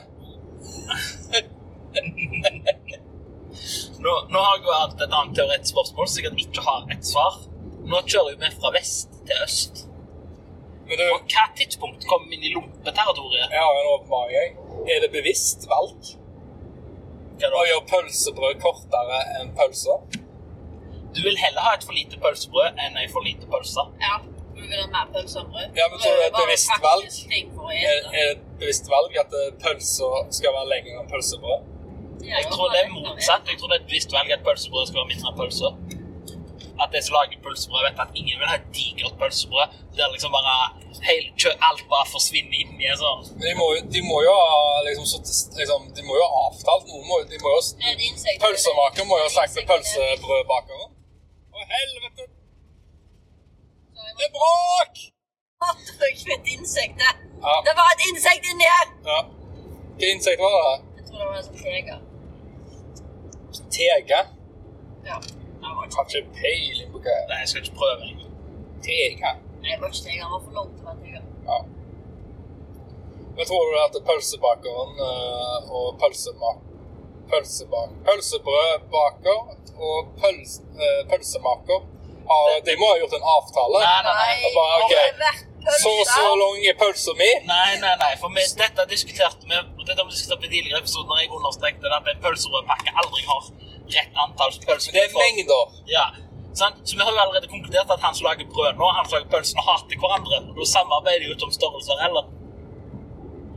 Speaker 3: Nå, nå har jeg jo hatt et annet teoretisk spørsmål, så jeg ikke har et svar. Nå kjører vi fra vest til øst.
Speaker 1: Men du,
Speaker 3: På hva tidspunkt kom vi inn i lompeterritoriet?
Speaker 1: jeg har en åpenbaring, jeg. Er det bevisst valg
Speaker 3: Hva
Speaker 1: å
Speaker 3: da?
Speaker 1: gjøre pølsebrød kortere enn pølser?
Speaker 3: Du vil heller ha et for lite pølsebrød enn ei for lite pølse.
Speaker 4: Ja, du vil ha mer pølse enn brød.
Speaker 1: Ja, men tror du det er et
Speaker 4: Bare
Speaker 1: bevisst
Speaker 4: faktisk
Speaker 1: valg?
Speaker 4: ting for å
Speaker 1: Er,
Speaker 4: ete.
Speaker 1: er det et bevisst valg at eh, pølser skal være lengre enn pølsebrød?
Speaker 4: De har
Speaker 3: Jeg
Speaker 4: jo
Speaker 3: tror det er
Speaker 4: valgt å ete.
Speaker 3: motsatt. Jeg tror det er et bevisst velg at pølsebrød skal være mindre enn pølser. At de som lager pølsebrød, vet at ingen vil ha et digert pølsebrød. Der liksom bare hele, kjø, alt bare forsvinner inn i en sånn
Speaker 1: Men De må, jo- de må jo ha liksom, satt- liksom, De må jo ha avtalt noe. Må, de må jo,
Speaker 4: Men insekter-
Speaker 1: pølsemakeren må jo ha sagt til
Speaker 4: insekter-
Speaker 1: pølsebrødbakeren. Å, helvete!
Speaker 4: Så jeg må
Speaker 1: Det er bråk!
Speaker 4: Trykk med et insekt der.
Speaker 1: Ja.
Speaker 4: Det var et insekt inni her!
Speaker 1: ja. Hva insekt var det?
Speaker 4: Jeg tror det var en sånn teger.
Speaker 1: Tege?
Speaker 4: Ja. Han var ikke
Speaker 1: Har ikke peiling på hva det er.
Speaker 3: Nei, jeg skal ikke prøve engang.
Speaker 1: Tege?
Speaker 4: Nei, det var ikke teger. Han var for langt til å være teger.
Speaker 1: Ja. Men tror du at pølsebakeren eh, og pølsemak... Pølsebak... Pølsebrødbaker og pøls, eh, pølsemaker har, De må ha gjort en avtale?
Speaker 3: Nei, nei, nei.
Speaker 1: Og bare, ok,
Speaker 4: har det vært pølse?
Speaker 1: Så og så lang er pølsa mi?
Speaker 3: Nei, nei, nei, for vi, dette diskuterte vi og dette har vi diskutert i tidligere episoder når jeg understrekte at en pølsebrødpakke aldri har rett antall pølser.
Speaker 1: Men det er mengder.
Speaker 3: Ja, sant? Så vi har jo allerede konkludert at han som lager brød nå, han som lager pølsene, hater hverandre. Og da samarbeider de jo ikke om størrelser heller.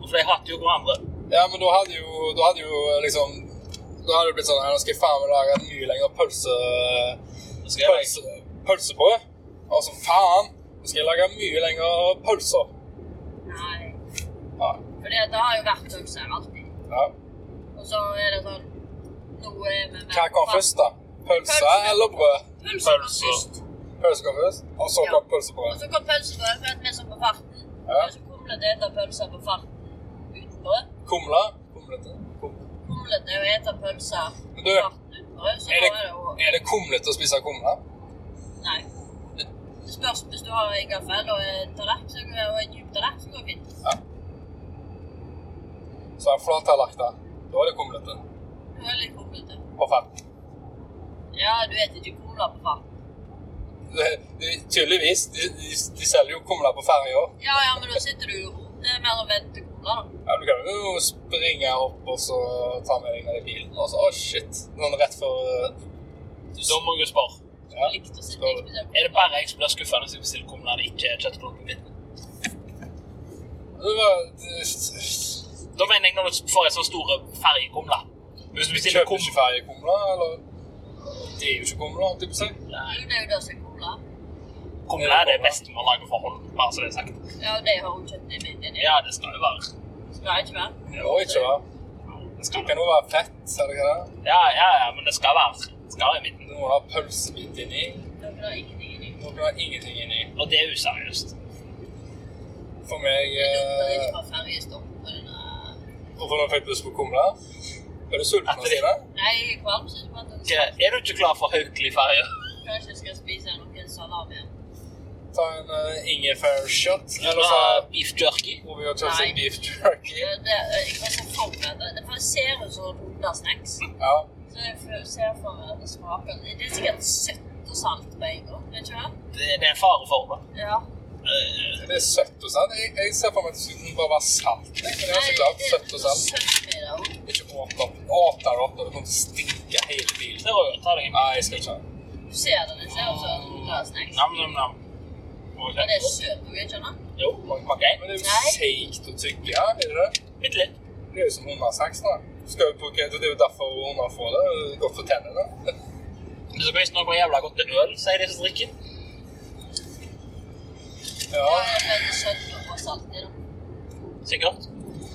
Speaker 3: For de hater jo hverandre.
Speaker 1: Ja, men da hadde jo, da hadde jo liksom Da hadde det blitt sånn «Nei, Nå skal jeg faen meg lage et mye lengre pølse...
Speaker 3: Nå skal jeg lage-
Speaker 1: pølse pølsebrød. Altså, faen! Nå skal jeg lage mye lengre pølser.
Speaker 4: Nei.
Speaker 1: Ja.
Speaker 4: For det har jo vært pølse her alltid.
Speaker 1: ja.
Speaker 4: Og så er det sånn Nå er vi med
Speaker 1: Hva kom først, da? Pølse
Speaker 4: Pølse.
Speaker 1: eller brød?
Speaker 4: Pølse kom
Speaker 3: Pølse.
Speaker 4: først.
Speaker 1: Pølse kom først, og så
Speaker 4: Ja.
Speaker 1: kom
Speaker 4: Og
Speaker 1: pølsebrød.
Speaker 4: så kom pølsebrød, for at vi som sånn på farten.
Speaker 1: Ja.
Speaker 4: Og så kumlet eter pølser på farten uten brød.
Speaker 1: Kumle? Kumlete? Kumle.
Speaker 4: Kumlet er å ete pølser
Speaker 1: Men
Speaker 4: på
Speaker 1: du,
Speaker 4: farten uten brød, så
Speaker 1: Er det,
Speaker 4: da er det jo
Speaker 1: er det kumlete å spise kumle?
Speaker 4: Nei. Det spørs hvis du har en gaffel og en tallerken så går- og en djup tallerken, så går det fint.
Speaker 1: Så er det flat tallerken. Da er det kumlete.
Speaker 4: Du er litt kumlete.
Speaker 1: På fett.
Speaker 4: Ja, du vet ikke kumla på fart.
Speaker 1: Det- det- Tydeligvis. De, de, de selger jo kumle på ferja.
Speaker 4: Ja, ja, men da sitter du jo Det er mer å vente kumla Gamla da.
Speaker 1: Ja, du kan jo springe opp og så ta med deg ned i bilen. Og så, å shit, noen rett før uh,
Speaker 3: Da må jeg jo spørre.
Speaker 1: ja.
Speaker 4: Jeg likte å se
Speaker 1: Skal-
Speaker 4: deg.
Speaker 3: Er det bare jeg som blir skuffa når jeg bestiller kumler det ikke er kjøttboller på midten?
Speaker 1: Det var det-
Speaker 3: Da mener jeg når du får en sånn store ferjekumler. Hvis du bestiller
Speaker 1: Kjøper
Speaker 3: kum...
Speaker 1: ikke ferjekumler, eller Det er jo ikke kumler, holdt jeg på å si.
Speaker 3: Nei,
Speaker 4: Jo, det er jo det som er cola.
Speaker 3: Kumler er det beste man lager for hånd, bare så det er sagt.
Speaker 4: Ja, det har hun kjøpt i midjen.
Speaker 3: Ja, det skal jo være.
Speaker 4: Skal ikke være.
Speaker 1: Det må ikke være.
Speaker 3: Det
Speaker 1: Det
Speaker 3: skal
Speaker 1: kan jo være fett, eller hva det er.
Speaker 3: Ja, ja, ja, men det skal være. Det skal være i midten.
Speaker 1: Du må ha pølsebit inni.
Speaker 4: Dere har ingenting i det.
Speaker 1: Du kan ha ingenting inni.
Speaker 3: Og det er useriøst.
Speaker 1: For meg
Speaker 4: Det er
Speaker 1: eh,
Speaker 4: ikke fra fergestopp. men, eh,
Speaker 1: Hvorfor nå fikk du lyst på kumler? Er du sulten,
Speaker 3: Etter det.
Speaker 1: Stine?
Speaker 4: Nei, jeg er kvalm, så jeg bare
Speaker 3: Ikke- Er du ikke klar for Haukeli-ferje?
Speaker 4: kanskje jeg skal spise noen salami.
Speaker 1: Ta en eh, ingefærshot. Eller så
Speaker 3: Eller beef jerky?
Speaker 1: må vi jo kjøpe
Speaker 4: Nei.
Speaker 1: seg beef jerky.
Speaker 4: Ja, det, jeg var så forberedt. Det for det ser ut som hundesnacks.
Speaker 1: Ja.
Speaker 4: Så jeg får- ser for meg at det smaker Det er sikkert søtt og salt på en gang. Vet ikke hva?
Speaker 3: Det, det er fare for det.
Speaker 4: Ja.
Speaker 3: Eh,
Speaker 1: Det er søtt og salt. Jeg, jeg ser for meg at det skulle bare være salt. jeg. Men det er så
Speaker 4: Nei,
Speaker 1: klart
Speaker 4: det er
Speaker 1: søtt og salt.
Speaker 4: søtt i det også.
Speaker 1: Ikke åpne opp. Åpne det opp når det kommer til å stinke hele bilen.
Speaker 3: Det er jo å ta deg en
Speaker 1: Nei, jeg skal ikke ha det.
Speaker 4: Du ser det, det ser ut som hundesnacks.
Speaker 3: Nam-nam-nam.
Speaker 4: Men det er søt òg, ikke sant?
Speaker 3: Jo, makk en.
Speaker 1: Men det er
Speaker 4: Nei.
Speaker 1: jo seigt å tygge, er det ikke det?
Speaker 3: Bitte litt.
Speaker 1: Det er jo som hundesaks, da. Du skal jo bruke, det er jo derfor hunder får det. Det er Godt for tennene. (laughs)
Speaker 3: Men så kan visst noe jævla godt til øl, sier de som drikker.
Speaker 1: Ja,
Speaker 4: Ja, det er veldig søtt og salt i det.
Speaker 3: Sikkert.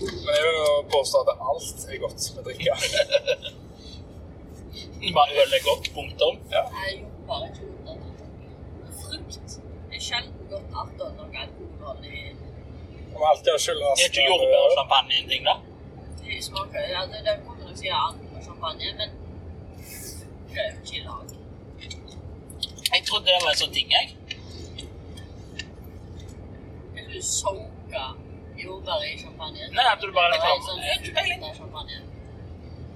Speaker 1: men jeg vil jo påstå at alt er godt med drikke. (laughs)
Speaker 3: Bare øl er godt, punktum.
Speaker 1: Ja.
Speaker 4: Jeg jobber ikke mot det. Frukt er sjelden godt at det er noe alkohol i.
Speaker 1: Om alltid har skyldas
Speaker 3: Er ikke jordbær og champagne en ting, da?
Speaker 4: Det smaker ja, det, det kommer nok sikkert an på champagne, men det er jo ikke i lag.
Speaker 3: Jeg trodde det var en sånn ting, jeg.
Speaker 4: Hvis du sunker jordbær i champagne
Speaker 3: Nei, at du bare
Speaker 4: det er
Speaker 3: liksom
Speaker 4: en sånn
Speaker 3: Jeg har ikke peiling.
Speaker 4: fruktete champagne.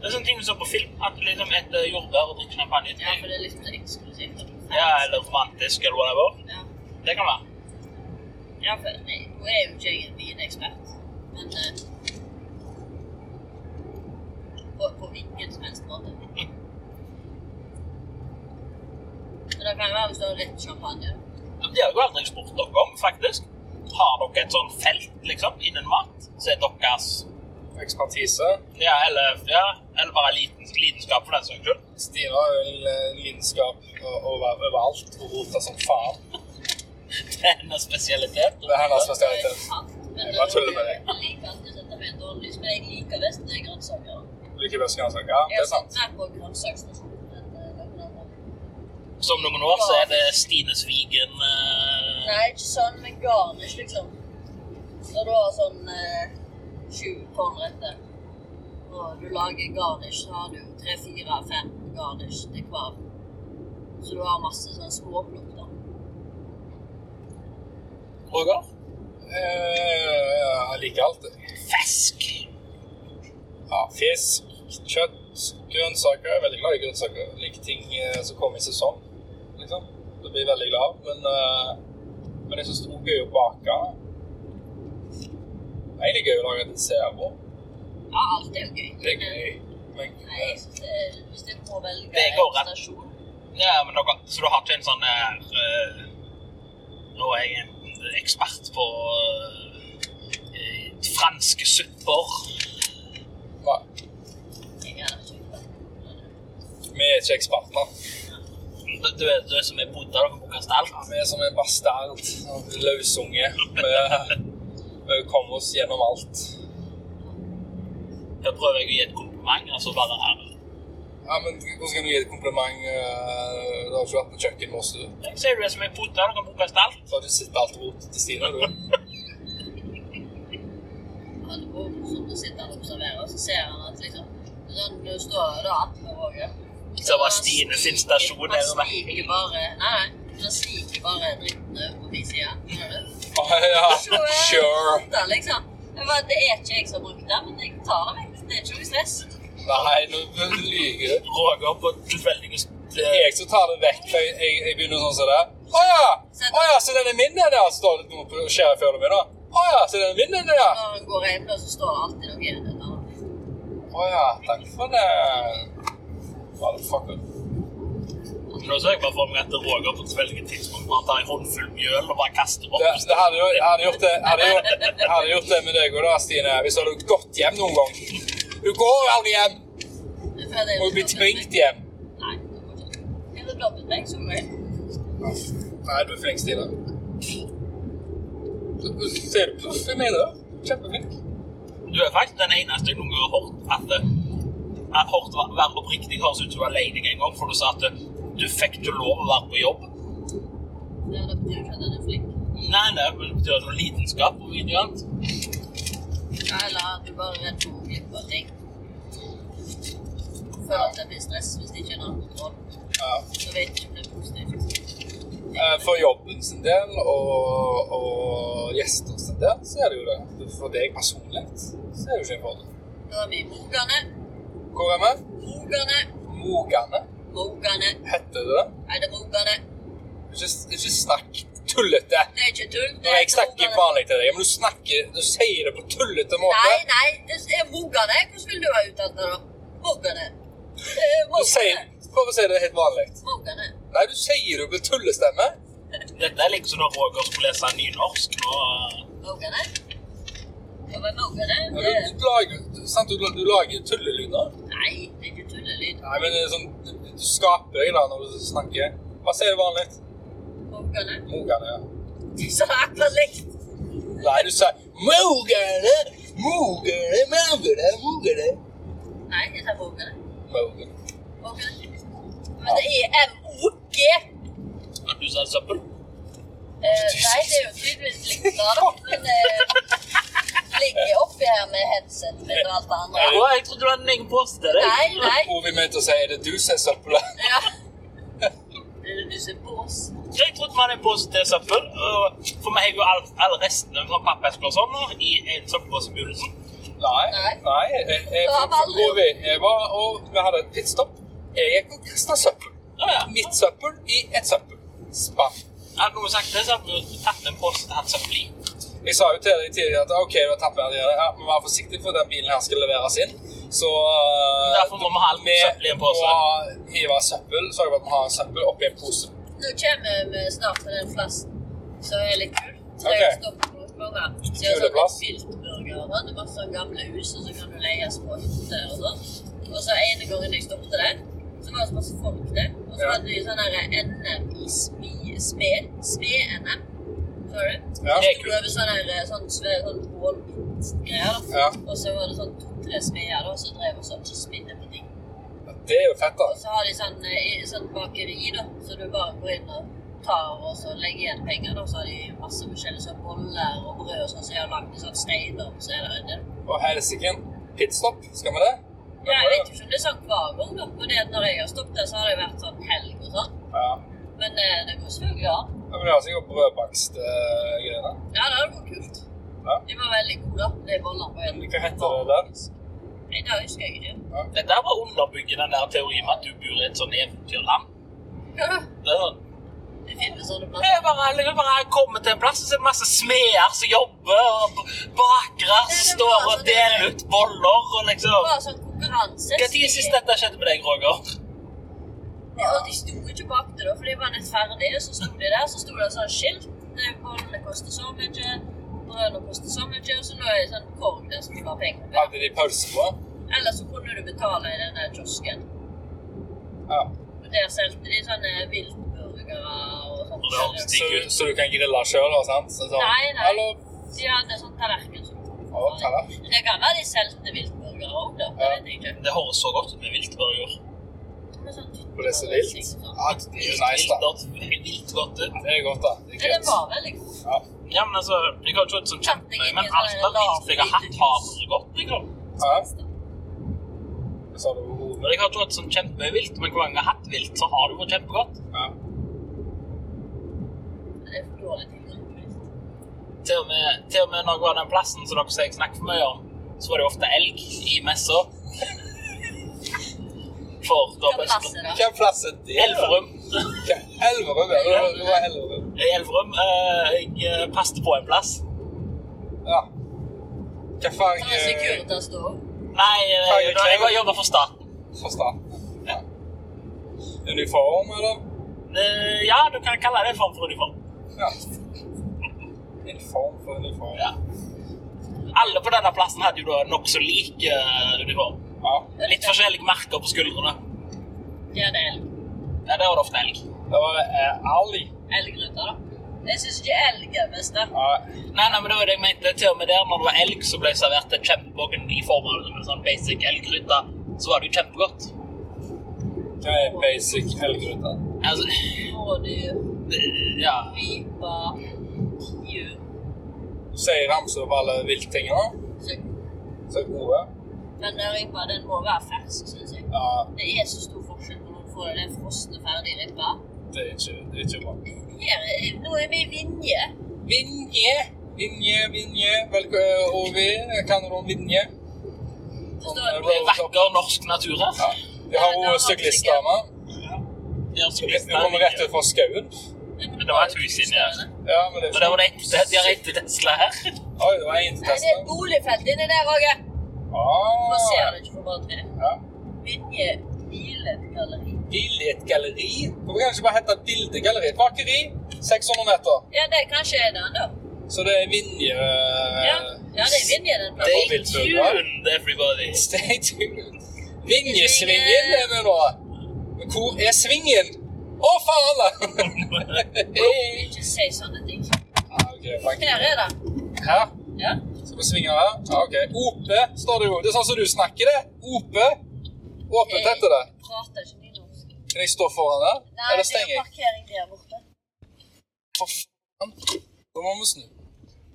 Speaker 3: Det er sånn ting du så på film, at du liksom etter jordbær og drikker champagne.
Speaker 4: Ja, for det er liksom så eksklusivt. og
Speaker 3: Ja, eller romantisk, eller whatever.
Speaker 4: Ja.
Speaker 3: Det kan være.
Speaker 4: Ja, for nei, nå er jo ikke jeg en vinekspert, men eh, på, på hvilken som helst
Speaker 3: (laughs)
Speaker 4: måte. Men det kan jo være hvis du har rett champagne.
Speaker 3: Men Det har jeg jo aldri spurt dere om, faktisk. Har dere et sånn felt, liksom, innen mat? Så er deres
Speaker 1: Ekspertise.
Speaker 3: Ja, eller, ja, eller bare liten, lidenskap for den saks skyld. (laughs)
Speaker 1: Stina har jo en eh, lidenskap å- å være overalt og rote som faen.
Speaker 3: Det er hennes spesialitet.
Speaker 1: Det er hennes
Speaker 4: Det er
Speaker 1: spesialitet.
Speaker 4: sant, men
Speaker 1: Jeg bare tuller med deg.
Speaker 4: Jeg liker alltid å sette meg i et dårlig lys, men jeg liker best når det er grønnsaker.
Speaker 1: Du liker best grønnsaker. Ja, det
Speaker 4: Jeg har
Speaker 1: er sant.
Speaker 4: satt meg på grønnsaksnasjonen. men, eh, det er ikke noe.
Speaker 3: Så om noen år så er det Stines Vigen eh,
Speaker 4: Nei, ikke sånn, men garnish, liksom. Når du har sånn eh, sju kornretter, og du lager garnish, så har du tre, fire, fem garnish til hver. Så du har masse sånn småplukk, da.
Speaker 3: Roger.
Speaker 1: Eh, Jeg liker alt. jeg.
Speaker 3: Fisk.
Speaker 1: Ja, fisk, kjøtt, grønnsaker. Jeg er veldig glad i grønnsaker. Jeg liker ting eh, som kommer i sesong. Liksom. Da blir jeg veldig glad. Men, eh, men jeg syns det er gøy å bake. Egentlig gøy å lage dessert òg.
Speaker 4: Ja, alt er jo gøy.
Speaker 1: Det er
Speaker 4: men-
Speaker 1: gøy. Men eh,
Speaker 4: Nei, jeg synes det er, hvis jeg må velge
Speaker 3: Det går rett.
Speaker 4: stasjon
Speaker 3: Ja, men dere, så du har ikke en sånn der eh, Nå er jeg en ekspert på eh, franske supper.
Speaker 1: nei,
Speaker 4: Jeg er ikke det.
Speaker 1: vi er ikke eksperter.
Speaker 3: Du, du, er, du er som er bodde, dere bruker stelt.
Speaker 1: Vi er som en bastard. en Løsunge. Vi, vi kommer oss gjennom alt.
Speaker 3: Da prøver jeg å gi et kompliment, og så bare her.
Speaker 1: Ja, men Hvordan kan du gi et kompliment? eh, Du har ikke vært på kjøkken med oss, du.
Speaker 3: Jeg ser du er som er bodde, dere bruker stelt.
Speaker 1: Så har du sett alt rotet til Stine, du.
Speaker 4: Han går opp, så sitter han og observerer, og så ser han at liksom sånn, Du står da attmed Roger.
Speaker 3: Så var Stine sin stasjon
Speaker 4: Han
Speaker 3: her og
Speaker 4: sniker bare Nei, nei. Han sniker bare dritten over på min side.
Speaker 3: (laughs)
Speaker 4: skjønner du?
Speaker 1: Å, Ah, ja, sure.
Speaker 4: Da, liksom. Jeg bare, det er ikke jeg som har brukt det, men jeg tar det vekk. Det er ikke noe stress.
Speaker 1: Nei, nå lyver du.
Speaker 3: Roger på tilfeldigvis
Speaker 1: Det er
Speaker 3: eh,
Speaker 1: jeg som tar det vekk, for jeg, jeg, jeg begynner sånn som det. Å ja! Å ja, så den er min, den der? Står det noe på skjæret før du begynner? Å ja, så det er min idé, ja.
Speaker 4: Når han går inn, da, så står det alltid noe igjen. eller annet.
Speaker 1: Å ja, takk for det. Motherfucker.
Speaker 3: Nå så jeg bare for meg at Roger på et veldig tidspunkt bare tar en håndfull mjøl og bare kaster opp.
Speaker 1: Det, det hadde jo, jeg hadde gjort det, jeg hadde gjort, jeg hadde gjort det med deg og da, Stine, hvis du hadde gått hjem noen gang. Du går aldri hjem.
Speaker 4: Jeg føler jeg
Speaker 1: Du må jo bli
Speaker 4: dobbelt
Speaker 1: tvunget
Speaker 4: meg.
Speaker 1: hjem.
Speaker 4: Nei, det må ikke. Jeg hadde dobbelt meg som meg.
Speaker 1: Nei, du er flink, Stine. Ser du proff i meg, da? Kjempeflink.
Speaker 3: Du er faktisk den eneste jeg noen gang har hørt at eh, at hørt hva- være oppriktig høres ut som du var lei deg en gang, for du sa at eh, du fikk ikke lov å være på jobb.
Speaker 4: Ja, det betyr jo ikke at han er flink.
Speaker 3: Nei, nei, men det betyr at det var lidenskap og mye annet.
Speaker 4: Ja, Eller at du bare er redd for å gå glipp av ting. Føler at det blir stress hvis det ikke er noe kontroll.
Speaker 1: Ja.
Speaker 4: Så vet ikke om det er positivt.
Speaker 1: Eh, For jobben sin del og, og gjester sin del, så er det jo det. For deg personlig så er det jo ikke en fordel.
Speaker 4: Da er vi i Mogane.
Speaker 1: Hvor er vi?
Speaker 4: Mogane.
Speaker 1: Mogane.
Speaker 4: Mogane.
Speaker 1: Heter det det?
Speaker 4: Er det Mogane?
Speaker 1: Ikke, ikke snakk tullete.
Speaker 4: Det er ikke tull. Det
Speaker 1: Når
Speaker 4: er
Speaker 1: jeg snakker
Speaker 4: Mogane.
Speaker 1: vanlig til deg, men du snakker, du sier det på tullete måte.
Speaker 4: Nei, nei, det er Mogane. Hvordan ville du ha uttalt det, da? Mogane. Det er
Speaker 1: Du sier,
Speaker 4: Mogane.
Speaker 1: prøv å si det helt vanlig.
Speaker 4: Mogane.
Speaker 1: Nei, du sier det med tullestemme.
Speaker 3: Dette er liksom når Roger skulle lese nynorsk. Nå, eh,
Speaker 4: Mogane. Ja, men Mogane
Speaker 1: Du,
Speaker 4: det er-
Speaker 1: du, lager, sant? Du, du lager tullelyder.
Speaker 4: Nei, det er ikke tullelyd.
Speaker 1: Nei, men det er sånn, du, du skaper deg da når du snakker. Hva sier du vanlig?
Speaker 4: Mogane.
Speaker 1: Mogane, ja.
Speaker 4: Det er så akkurat likt.
Speaker 1: Nei, du sier Mogane, Mogane, Mogane, Mogane.
Speaker 4: Nei, jeg tar Mogane.
Speaker 1: Mogane.
Speaker 4: Mogane. Men det er M-O-G.
Speaker 3: at du sa søppel.
Speaker 4: Eh, nei, det er jo tydeligvis likt da, da. Men det ligger oppi her med headset og alt det andre.
Speaker 3: Å, jeg trodde du hadde en egen pose til deg.
Speaker 4: Nei, nei.
Speaker 1: Hvor vi mente å si, er det du som er søppelet?
Speaker 4: Ja. (laughs) Det er du som er bås.
Speaker 3: Jeg trodde vi hadde en pose til søppel. og For meg er jo all, all restene fra pappesker og sånn nå i en søppelpose i begynnelsen.
Speaker 1: Nei.
Speaker 4: Nei.
Speaker 1: nei jeg, jeg,
Speaker 4: Da har vi aldri
Speaker 1: hvor vi, jeg var, og vi hadde et pitstop. Jeg gikk og kasta søppel.
Speaker 3: Å, ja.
Speaker 1: Mitt søppel i et søppel. Spann.
Speaker 3: Hadde noen sagt det, så hadde du tatt en pose til hans søppel i.
Speaker 1: Jeg sa jo til deg tidligere at ok, du har tatt med deg det. Ja, men vær forsiktig, for den bilen her skal leveres inn. Så øh,
Speaker 3: Derfor må vi ha alt søppel i en pose.
Speaker 1: må ha- hive søppel. Sørge for at vi har søppel oppi en pose.
Speaker 4: Nå kommer vi snart til den plassen som er litt kul. Så
Speaker 1: Ok.
Speaker 4: jeg stopper på Åkmara. Så jeg har sånne
Speaker 1: Kuleplass.
Speaker 4: filtburgere. og Det er masse sånne gamle hus, og så kan du leie små hytter og sånn. Og så ene gangen jeg stoppet der, så var det så masse folk der. Og så
Speaker 1: Ja.
Speaker 4: hadde de sånn her NM i smi- smed. Smed-NM. Sorry.
Speaker 1: Ja.
Speaker 3: Det er
Speaker 4: Sto over sånn her eh, sånn svær sånn bålpitt-greier, da.
Speaker 1: Ja.
Speaker 4: Og så var det sånn to-tre smeder da, som drev og sånn ikke smidde på ting.
Speaker 1: Det er jo fett,
Speaker 4: Og
Speaker 1: da.
Speaker 4: så har de sånn, eh, i- sånn bakeri, da, så du bare går inn og tar og så legger igjen penger. da, Så har de masse forskjellige sånn boller og brød og sånn, så jeg har lagd sånn steiner og så er det en del.
Speaker 1: Og helsike, pitstop. Skal vi det?
Speaker 4: Ja, jeg vet jo ikke om det er sånn hver gang, da. For det at når jeg har stoppet der, så har det vært sånn helg og sånn.
Speaker 1: Ja.
Speaker 4: Men eh, det går selvfølgelig an.
Speaker 1: Men det er altså sikkert brødbakstgreiene.
Speaker 4: Ja, det hadde vært kult.
Speaker 1: Ja.
Speaker 4: De var veldig gode, da. De bollene på en.
Speaker 1: Hva heter det der?
Speaker 4: Nei, det husker jeg ikke. (laughs)
Speaker 3: Dette her var å underbygge den der teorien med at du bor i et sånn eventyrland.
Speaker 4: Hva da?
Speaker 3: Det er sånn,
Speaker 4: Det finnes sånne plasser.
Speaker 3: jeg bare, jeg bare kommer til en plass, og så er det masse smeder som jobber, og b- bakere
Speaker 4: det
Speaker 3: som
Speaker 4: var
Speaker 3: står og
Speaker 4: sånn det-
Speaker 3: deler ut boller, og
Speaker 4: Det
Speaker 3: liksom...
Speaker 4: var sånn konkurranse.
Speaker 3: Hva tid sist dette skjedde med deg, Roger?
Speaker 4: Ja, og de sto ikke bak det, da, for de var nett ferdige. Så sto de der, så sto det sånn skilt. Det- Bollene koster så mye, brødene koster så mye, og så lå det en sånn korg der som du la penger på.
Speaker 1: Hadde de pølse på?
Speaker 4: Eller så kunne du betale i den der kiosken.
Speaker 1: Ja.
Speaker 4: Og der solgte de sånne viltburgere og sånt.
Speaker 3: Og det var
Speaker 1: Så, så du kan grille sjøl, sant? Så, sånn,
Speaker 4: Nei, nei.
Speaker 1: Hallo.
Speaker 4: De hadde sånn tallerken som
Speaker 1: Å, tallerken.
Speaker 4: Men Det kan være de solgte viltburgere òg, da. Det
Speaker 1: Ja.
Speaker 4: vet jeg ikke.
Speaker 3: Det høres så godt ut med viltburger.
Speaker 4: Men sånn tyttebær-
Speaker 1: For det er så vilt.
Speaker 4: sånn.
Speaker 1: Ja, det er jo nice, da.
Speaker 3: Vilt- vilt- Vilt godt ut.
Speaker 1: Det er godt, da. Det er
Speaker 4: Men det
Speaker 1: greit.
Speaker 4: var veldig god.
Speaker 1: Ja.
Speaker 3: Ja, men altså, jeg har ikke hørt sånn kjempe, men alt av vilt jeg har hatt har vært godt, liksom.
Speaker 1: Ja. Så har du
Speaker 3: Men jeg har ikke hatt sånn kjempevilt, men hver gang jeg har hatt vilt, så har det vært kjempegodt.
Speaker 1: Ja.
Speaker 4: Men det er for dårlig tilgang på vilt.
Speaker 3: Til og med, til og med når jeg var den plassen som dere sier jeg snakker for mye om, så var det ofte elg i messa. For da
Speaker 4: Hva plass er det?
Speaker 1: Hvilken plass er det?
Speaker 3: Elverum.
Speaker 1: Hva- Elverum, ja. Det var- Det var Elverum.
Speaker 3: I Elverum. Eh, jeg eh, passet på en plass.
Speaker 1: Ja. Hva farge
Speaker 4: Det er Securitas da òg.
Speaker 3: Nei, jeg,
Speaker 1: Fargeklær.
Speaker 3: jeg, jeg jobber for staten.
Speaker 1: Forstår. Ja. Uniform, eller?
Speaker 3: Eh, Ja, du kan kalle det en form for uniform.
Speaker 1: Ja. En form for uniform.
Speaker 3: Ja. Alle på denne plassen hadde jo da nokså lik eh, uniform.
Speaker 1: Ja.
Speaker 3: Litt forskjellige merker på skuldrene.
Speaker 4: Ja, det er elg.
Speaker 3: Ja, der var det ofte elg.
Speaker 1: Da var det eh, Ali.
Speaker 4: Elgruta, da. Jeg syns ikke elg er best. da.
Speaker 1: Ja.
Speaker 3: Nei, nei, men det var det jeg mente. Til og med der når det var elg, så ble jeg servert et kjempemåken i form av en sånn basic elgrytte. Så var det jo kjempegodt.
Speaker 1: Hva er basic elgrute?
Speaker 3: Altså,
Speaker 4: Rådyr,
Speaker 3: det- ja.
Speaker 4: rype, tiur
Speaker 1: Du sier ramse opp alle vilttingene.
Speaker 4: så-
Speaker 1: Så er det gode.
Speaker 4: Men den rypa den må være fersk, syns jeg.
Speaker 1: Ja,
Speaker 4: Det er så stor forskjell på når du får den frosne, ferdig rypa.
Speaker 1: det er ikke, det er ikke bra.
Speaker 4: Her er, nå er vi i Vinje.
Speaker 1: Vinje. Vinje, vinje. Velkommen over. Kan du om vinje?
Speaker 4: Forstår
Speaker 3: Det
Speaker 4: du?
Speaker 3: er vakker norsk natur her.
Speaker 1: Ja. Vi har jo syklistdame.
Speaker 3: Det er så
Speaker 1: Hun
Speaker 3: lyst til
Speaker 1: kommer rett ut fra skauen.
Speaker 3: Men det var et hus inni her.
Speaker 1: Ja, men det
Speaker 3: Og det var
Speaker 1: er sånn.
Speaker 3: det eneste de har rett til Tesla her.
Speaker 1: Oi, det var en til
Speaker 4: Nei, det er et
Speaker 1: testen.
Speaker 4: boligfelt inni der, Åge. Nå ser
Speaker 1: Ah,
Speaker 4: du ikke på bare tre.
Speaker 1: ja.
Speaker 4: Vinje bilgalleri.
Speaker 1: Billedgalleri. Hvorfor kan det ikke bare hete Bildegalleri? Et bakeri, 600 meter.
Speaker 4: Ja, det kanskje er den, da.
Speaker 1: Så det er Vinje eh,
Speaker 4: Ja, ja det er Vinje den plassen.
Speaker 3: Stay tuned, everybody.
Speaker 1: Stay
Speaker 4: (laughs)
Speaker 1: tuned. Vinjesvingen er vi nå. Men Hvor er svingen? Å,
Speaker 4: (laughs)
Speaker 1: faen! da. Hei.
Speaker 4: Ikke si sånne ting.
Speaker 1: Ah, ok, Frank.
Speaker 4: Her er den.
Speaker 1: Her?
Speaker 4: Ja.
Speaker 1: Skal vi svinge her? Ja, ok. Ope står det jo. Det er sånn som du snakker, det. Ope. Åpent heter det.
Speaker 4: Prater ikke nynorsk.
Speaker 1: Kan jeg stå foran der?
Speaker 4: Eh. Nei,
Speaker 1: Eller
Speaker 4: det er
Speaker 1: stenger jeg?
Speaker 4: parkering der borte.
Speaker 1: For faen. Da må vi snu.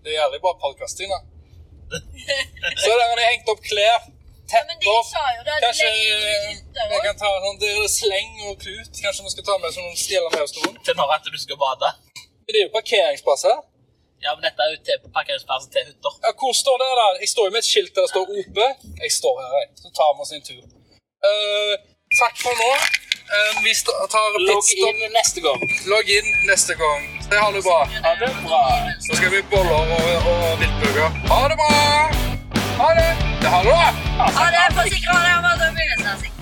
Speaker 1: Det er jævlig bra podkasting, da. Så der har de hengt opp klær.
Speaker 4: Ja, men de
Speaker 1: Tepper.
Speaker 4: sa jo det. De
Speaker 1: Kanskje
Speaker 4: legger jo ut der
Speaker 1: vi
Speaker 4: også.
Speaker 1: kan ta sånn, det er sleng og klut. Kanskje vi skal ta med sånn stjele med oss noen.
Speaker 3: Til når at du skal bade.
Speaker 1: Det er jo parkeringsplass her.
Speaker 3: Ja, men dette er jo til parkeringsplassen til hytter.
Speaker 1: Ja, hvor står det da? Jeg står jo med et skilt der det står OP. Jeg står her, jeg. Så tar vi oss en tur. Eh, takk for nå. Eh, vi sta- tar pitstop.
Speaker 3: neste gang.
Speaker 1: Logg inn neste gang. Det har du bra.
Speaker 3: Ha det bra.
Speaker 1: Så skal vi boller og, og viltburger. Ha det bra! Ha det! Det har du bra!
Speaker 4: e Ja, det er forsikra det har vært en begynnelse.